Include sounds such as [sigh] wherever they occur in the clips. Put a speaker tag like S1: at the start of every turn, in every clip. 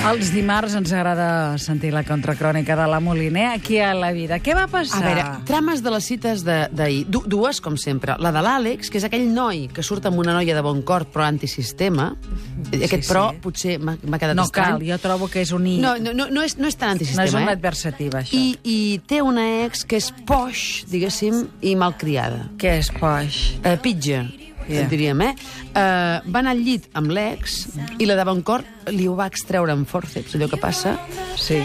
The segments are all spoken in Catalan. S1: Els dimarts ens agrada sentir la contracrònica de la Moliner aquí a La Vida. Què va
S2: A
S1: passar?
S2: veure, trames de les cites de- d'ahir. Du dues, com sempre. La de l'Àlex, que és aquell noi que surt amb una noia de bon cor però antisistema. Eh, Aquest
S1: Mm-hmm. sí.
S2: però potser m'ha m'ha quedat
S1: no
S2: estrany.
S1: cal, jo trobo que és un i.
S2: No, no, no, no, és, no és tan antisistema,
S1: no és una
S2: eh?
S1: adversativa, això.
S2: I, I té una ex que és poix, diguéssim, i malcriada.
S1: Què és poix?
S2: Eh, pitja,
S1: Ja.
S2: yeah. diríem, eh? eh? Va anar al llit amb l'ex i la de bon cor li ho va extreure amb forceps, allò que passa.
S1: Sí.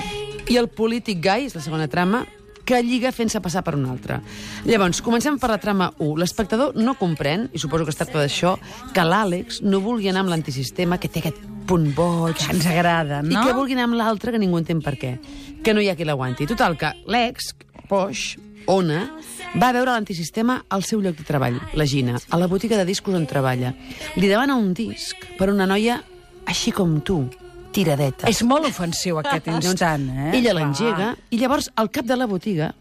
S2: I el polític gai, és la segona trama, que lliga fent-se passar per un altre. Llavors, comencem per la trama 1. L'espectador no comprèn, i suposo que es tracta d'això, que l'Àlex no vulgui anar amb l'antisistema, que té aquest punt boig,
S1: Que ens agrada, no?
S2: i que vulguin amb l'altre que ningú entén per què. Que no hi ha qui l'aguanti. Total, que l'ex, Poix, Ona, va veure l'antisistema al seu lloc de treball, la Gina, a la botiga de discos on treballa. Li demana un disc per una noia així com tu, tiradeta.
S1: És molt ofensiu
S2: [laughs]
S1: aquest instant, eh?
S2: Doncs Ella l'engega i llavors al cap de la botiga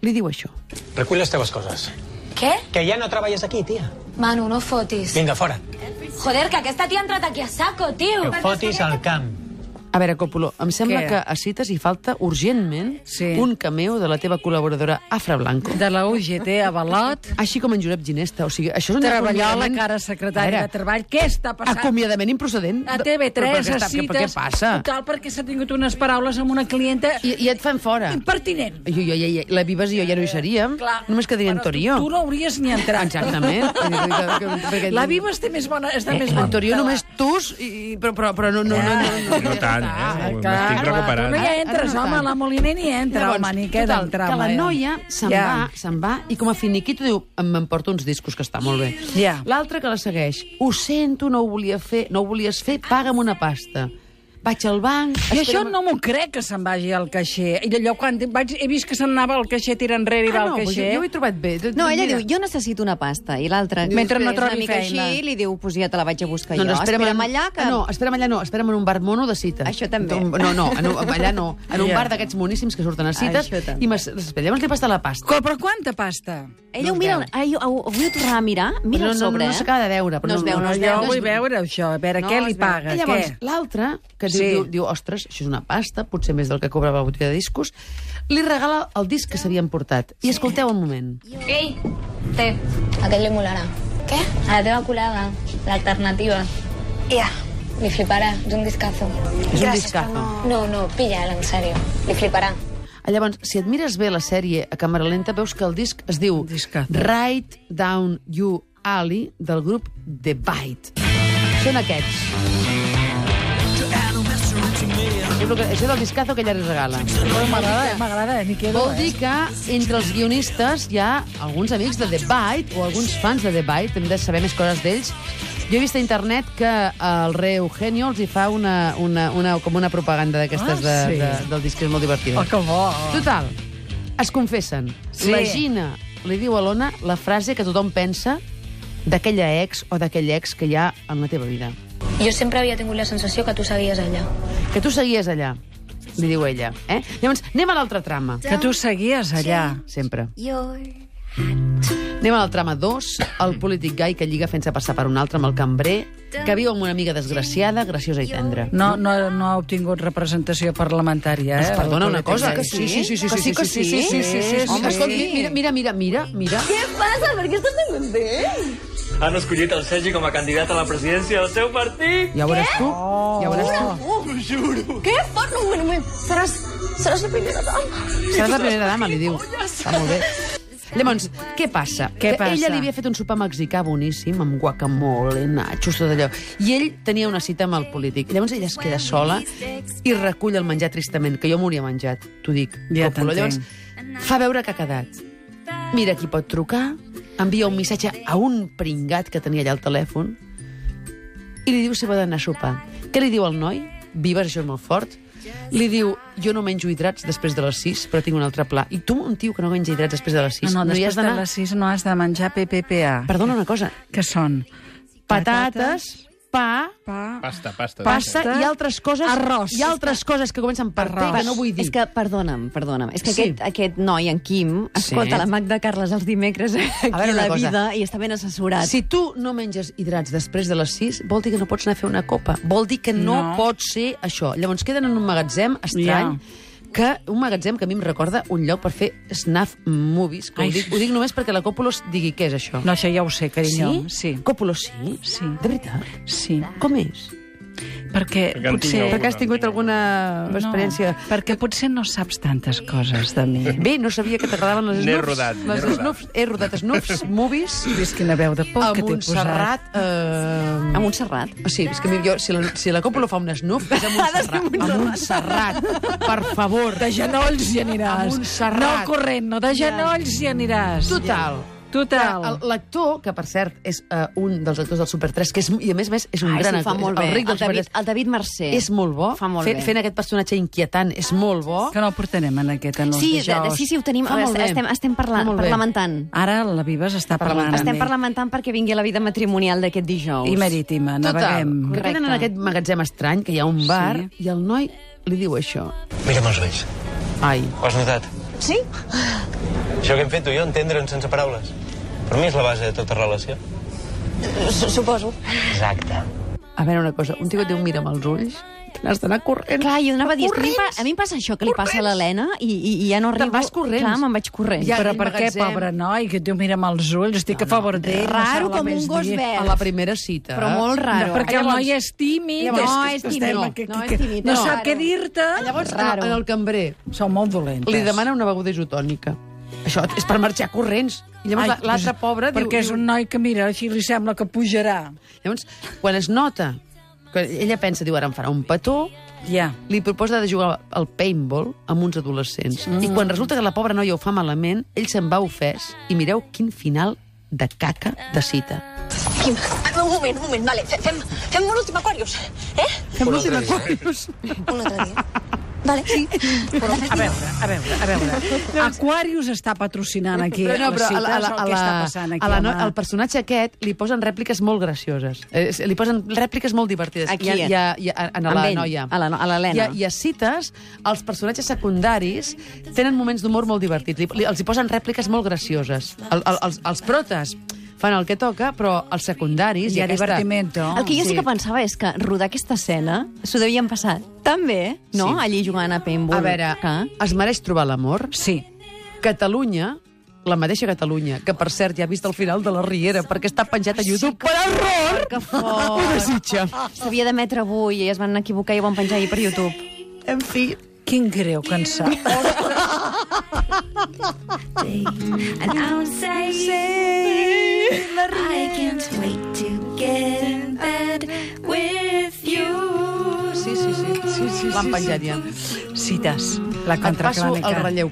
S2: li diu això.
S3: Recull les teves coses.
S4: Què?
S3: Que ja no treballes aquí, tia.
S4: Manu, no fotis.
S3: Vinga, fora.
S4: Joder, que aquesta tia ha entrat aquí a saco, tio.
S3: Que fotis al camp.
S2: A veure, Còpolo, em sembla
S1: Què?
S2: que a Cites hi falta urgentment
S1: Sí.
S2: un cameo de la teva col·laboradora Afra Blanco.
S1: De la UGT a Balot,
S2: Així com en Josep Ginesta. O sigui, això és un
S1: treballar la
S2: acomiadament-
S1: cara secretària
S2: A
S1: de Treball. Què està passant?
S2: Acomiadament improcedent.
S1: A
S2: Però per
S1: TV3,
S2: què
S1: a
S2: està-
S1: cites...
S2: Per què passa?
S1: Total, perquè s'ha tingut unes paraules amb una clienta
S2: I, I et fan fora.
S1: impertinent.
S2: Jo, jo, jo, la Vives i jo ja no hi seríem.
S1: Eh, Clar.
S2: Només quedaria en
S1: Bueno,
S2: Torio.
S1: Tu, tu no hauries ni entrat.
S2: [laughs] Exactament. Vull dir que- que- perquè-
S1: La Viva està més bona. Està
S2: Eh,
S1: més
S2: en
S1: bona. Ah,
S2: Torio només tus, i, i- però, però, però no... no, no, no, no,
S5: No
S2: ja
S5: tant,
S2: està.
S5: eh? M'estic
S1: Clar, clar,
S5: recuperant.
S1: Tu ah, no hi
S2: Ara-
S1: entres,
S2: ara Eh, no
S1: home,
S2: tant.
S1: a la Moliner ni entra,
S2: Llavors,
S1: home, ni queda
S2: total,
S1: entrar.
S2: que la
S6: eh?
S1: home.
S2: noia se'n
S1: Ja.
S2: va, se'n va, i com a finiquito diu, em m'emporto uns discos, que està molt bé.
S1: Ja.
S2: L'altra que la segueix, ho sento, no ho volia fer, no ho volies fer, paga'm una pasta. Vaig al banc...
S1: I això
S2: espera'm- Ah,
S1: no m'ho crec, que se'n vagi al caixer. I allò, quan vaig, he vist que se'n anava al caixer, tira enrere i va
S2: Ah,
S1: al
S2: no,
S1: caixer.
S2: jo, jo ho he trobat bé.
S6: No, ella
S2: Mira.
S6: diu, jo necessito una pasta. I l'altra,
S1: Mentre
S6: que
S1: no
S6: és
S1: trobi
S6: una mica
S1: feina.
S6: així, li diu, pues ja te la vaig a buscar
S2: Doncs
S6: jo.
S2: espera'm
S6: Espera'm
S2: en-
S6: allà que...
S2: Ah, No, espera'm allà no, espera'm en un bar mono de cites.
S6: Això també.
S2: Un- No, no, en un, allà no. En un
S1: Ja.
S2: bar d'aquests moníssims que surten a cites.
S6: Això també.
S2: I m'es- espera, llavors li passa la pasta.
S1: Co- Però quanta pasta?
S6: Ella ho mira, ai, ho, ho, ho vull tornar a mirar, mira
S2: No,
S6: el
S2: no,
S6: sobre,
S2: no
S6: eh?
S2: s'acaba de veure, però
S6: no, es
S2: no-
S6: veu, no,
S2: no,
S6: es
S1: Jo
S6: veu.
S1: vull veure això, a veure,
S6: No,
S1: què li
S6: es veu.
S1: paga,
S2: I Ah, llavors,
S1: què?
S2: l'altra, que diu,
S1: Sí.
S2: diu, diu, ostres, això és una pasta, potser més del que cobrava la botiga de discos, li regala el disc que s'havien portat. I escolteu un moment.
S7: Ei, té. Aquest li molarà. Què? A la teva col·lega, l'alternativa.
S8: Ja,
S7: Li fliparà, és un discazo.
S2: És un discazo.
S7: No, no, pilla-la, en sèrio. Li fliparà.
S2: Ah, Llavors, si et mires bé la sèrie a càmera lenta, veus que el disc es diu
S1: Discazo.
S2: Right Down You Alley del grup The Bite. Són aquests. És el que- Això del discazo que ella li regala.
S1: Però M'agrada, m'agrada, eh, m'hi quedo.
S2: Vol dir que entre els guionistes hi ha alguns amics de The Bite o alguns fans de The Bite, hem de saber més coses d'ells. Jo he vist a internet que el rei Eugenio els hi fa una, una, una, com una propaganda d'aquestes
S1: Ah,
S2: de,
S1: sí.
S2: de, del disc, que és molt divertida.
S1: Oh, que bo.
S2: Total, es confessen.
S1: Sí.
S2: Sí. La Gina li diu a l'Ona la frase que tothom pensa d'aquella ex o d'aquell ex que hi ha en la teva vida.
S7: Jo sempre havia tingut la sensació que tu seguies allà.
S2: Que tu seguies allà, li diu ella. Eh? Llavors, anem a l'altra trama.
S1: Que tu seguies allà.
S2: Sempre.
S8: jo...
S2: Anem a la trama 2, el polític gai que lliga fent-se passar per un altre amb el cambrer, que viu amb una amiga desgraciada, graciosa i tendra.
S1: No, no, no ha obtingut representació parlamentària, eh?
S2: Es Doncs perdona una
S1: el
S2: cosa?
S1: polític.
S2: sí, sí, sí,
S6: Que sí, que
S2: sí,
S6: sí?
S2: sí, sí, sí, sí, sí. Home,
S1: sí.
S2: escolti, mira, mira, mira, mira, mira.
S9: Han escollit el Sergi com a candidat a la presidència del seu partit.
S2: Ja ho veuràs tu, ja ho veuràs tu.
S8: Què fot? No, un moment. Seràs, seràs la primera dama.
S2: Seràs la primera dama, li diu. Està molt bé. Llavors, què passa?
S1: Què
S2: Que
S1: passa?
S2: Ella li havia fet un sopar mexicà boníssim, amb guacamole, nachos, tot allò. I ell tenia una cita amb el polític. Llavors ella es queda sola i recull el menjar tristament, que jo m'hauria menjat, t'ho dic.
S1: Ja t'entenc.
S2: Còpolo. Llavors, fa veure que ha quedat. Mira qui pot trucar, envia un missatge a un pringat que tenia allà al telèfon i li diu si vol anar a sopar. Què li diu al noi? Vives, això és molt fort. Li diu, jo no menjo hidrats després de les 6, però tinc un altre pla. I tu, un tio que no menja hidrats després de les 6,
S1: No, no,
S2: hi
S1: després
S2: has
S1: de
S2: d'anar...
S1: les 6 no has de menjar PPPA.
S2: Perdona una cosa,
S1: Que són
S2: patates, patates pa,
S1: Pa.
S5: Pasta, pasta.
S2: pasta,
S1: Pasta,
S2: i altres coses...
S1: arròs.
S2: I altres coses que comencen per T, que Ah. no vull dir.
S6: És que, perdona'm, perdona'm. És que
S2: Sí.
S6: sí. aquest, aquest noi, en Quim, escolta
S2: Sí.
S6: sí. la Magda Carles els dimecres eh, aquí a,
S2: veure una
S6: la
S2: cosa.
S6: vida i està ben assessorat.
S2: Si tu no menges hidrats després de les 6, vol dir que no pots anar a fer una copa. Vol dir que no,
S1: No.
S2: pot ser això. Llavors queden en un magatzem estrany, que un magatzem que a mi em recorda un lloc per fer snuff movies. Que
S1: Ai,
S2: ho, dic,
S1: sí.
S2: ho dic només perquè la Còpolos digui què és això.
S1: No, això ja ho sé, carinyo.
S2: sí?
S1: Sí?
S2: Còpolos sí?
S1: Sí.
S2: De veritat?
S1: Sí.
S2: Com és?
S1: Perquè
S5: Perquè en
S1: potser...
S5: tinc
S2: Perquè has tingut alguna experiència...
S1: Eh, No, perquè potser no saps tantes coses de
S2: [laughs]
S1: mi.
S2: Bé, no sabia que t'agradaven les
S5: N'he
S2: snoops.
S5: rodat, n'he
S2: les
S5: rodat.
S2: snoops. He rodat
S1: [laughs]
S2: snoops, movies...
S1: Ves quina veu de por
S2: a
S1: Oh, que t'he posat.
S2: Montserrat... Eh...
S6: A Montserrat.
S2: O sigui, és que mi- jo, si la, si la Còpola fa un snuf, és a [laughs] Montserrat. A Montserrat, per favor.
S1: De genolls hi
S2: A
S1: aniràs.
S2: Montserrat.
S1: No corrent, no, de genolls hi aniràs.
S2: [laughs] Total.
S1: Total.
S2: El- L'actor, que per cert és uh, un dels actors del Super 3, que és, i a més a més és un
S6: Ai,
S2: gran
S6: sí, fa
S2: actor,
S6: molt
S2: és
S6: bé.
S2: el ric del
S6: El
S2: Super
S6: David,
S2: 3.
S6: el David Mercè.
S2: És molt bo,
S6: Fa molt
S2: fent,
S6: bé.
S2: fent aquest personatge inquietant, és molt bo.
S1: Que no el portarem en aquest anunci.
S6: Oh. Sí, de, de, sí, sí, ho tenim.
S2: Doncs Fa
S6: A veure,
S2: molt bé.
S6: estem, estem
S2: Fa
S6: parlant,
S2: molt bé.
S6: parlamentant.
S1: Ara la Viva s'està parlant.
S2: Parlamentant.
S1: amb
S6: Estem
S1: mi.
S6: parlamentant perquè vingui la vida matrimonial d'aquest dijous.
S1: I marítima,
S2: Total,
S1: naveguem.
S2: que queden en
S6: Correcte.
S2: aquest magatzem estrany, que hi ha un bar,
S1: Sí.
S2: i el noi li diu això.
S3: Mira'm els ulls.
S2: Ai,
S10: Ho has notat?
S8: Sí?
S10: Això que hem fet tu i jo, entendre'ns sense paraules. Per mi és la base de tota relació.
S8: Su- Suposo.
S10: Exacte.
S2: a veure una cosa, un tio que et diu mira'm els ulls, te n'has d'anar corrent.
S6: Clar, jo anava a dir, és que a mi, em pa-
S2: Corrents.
S6: a mi em passa això, que li passa a l'Helena i, i, i ja no
S2: Te'n
S6: arribo...
S2: vas corrents.
S6: Clar, me'n vaig corrents.
S2: Ja,
S1: Però
S2: aquell
S1: per què,
S2: magatzem.
S1: pobre noi, que et diu mira'm els ulls, estic a favor d'ell. no sap
S6: Raro
S1: la
S6: com un
S1: més
S6: gos
S1: dir.
S6: verd.
S2: A la primera cita. eh?
S6: Però molt raro.
S1: No, perquè el
S2: Llavors-
S1: noi és tímid.
S6: Llavors- No,
S1: que
S6: és
S1: estem
S6: tímid, no,
S1: aquí,
S6: no, és
S1: que-
S6: tímid,
S1: No
S6: no,
S1: sap
S6: raro. Ah,
S1: què dir-te.
S2: Llavors,
S6: Raro.
S2: en el cambrer,
S1: Són molt dolentes.
S2: Li demana una beguda isotònica. Això és per marxar corrents. I llavors la- l'altre
S1: doncs,
S2: pobre diu...
S1: Perquè és un noi que mira, així li sembla que pujarà.
S2: diu- Llavors, quan es nota que ella pensa, diu, ara em farà un petó,
S1: Ja.
S2: li proposa de jugar al paintball amb uns adolescents. Mm. I quan resulta que la pobra noia ho fa malament, ell se'n va ofès i mireu quin final de caca de cita.
S8: Quim, ah, un moment, un moment, vale. fe- Fem, fem un últim Aquarius, eh?
S2: Fem l'últim Aquarius.
S8: Un altre dia. Vale, sí.
S1: A veure, a veure, a veure. Aquarius està patrocinant aquí
S2: Però no, però a
S1: les
S2: la,
S1: cites,
S2: a la,
S1: o
S2: a
S1: què
S2: la,
S1: està passant aquí,
S2: a la, no,
S1: home?
S2: al personatge aquest li posen rèpliques molt gracioses. Eh, li posen rèpliques molt divertides.
S6: Aquí,
S2: I, a- i, a- i, a- en
S6: amb
S2: la
S6: ell,
S2: noia.
S6: a la no- a
S2: I,
S6: l'Helena.
S2: a- I a cites, els personatges secundaris tenen moments d'humor molt divertits. Li, li, els hi posen rèpliques molt gracioses. El, el, els, els protes fan el que toca, però els secundaris...
S1: Hi ha divertimento.
S6: El que jo sí que pensava és que rodar aquesta escena s'ho devien passar tan bé, no?,
S2: Sí.
S6: allí jugant a paintball.
S2: A veure,
S6: Que...
S2: es mereix trobar l'amor?
S1: Sí.
S2: Catalunya, la mateixa Catalunya, que per cert ja ha vist el final de la Riera, perquè està penjat a YouTube per error,
S6: Que
S2: ho
S6: fort!
S2: desitja.
S6: S'havia d'emetre avui i es van equivocar i ho van penjar ahir per YouTube.
S2: En fi,
S1: Quin greu que en sap.
S2: sí, sí, sí. sí, sí L'han penjat ja.
S1: Cites. La
S2: Et passo el
S1: contracrònica.
S2: relleu,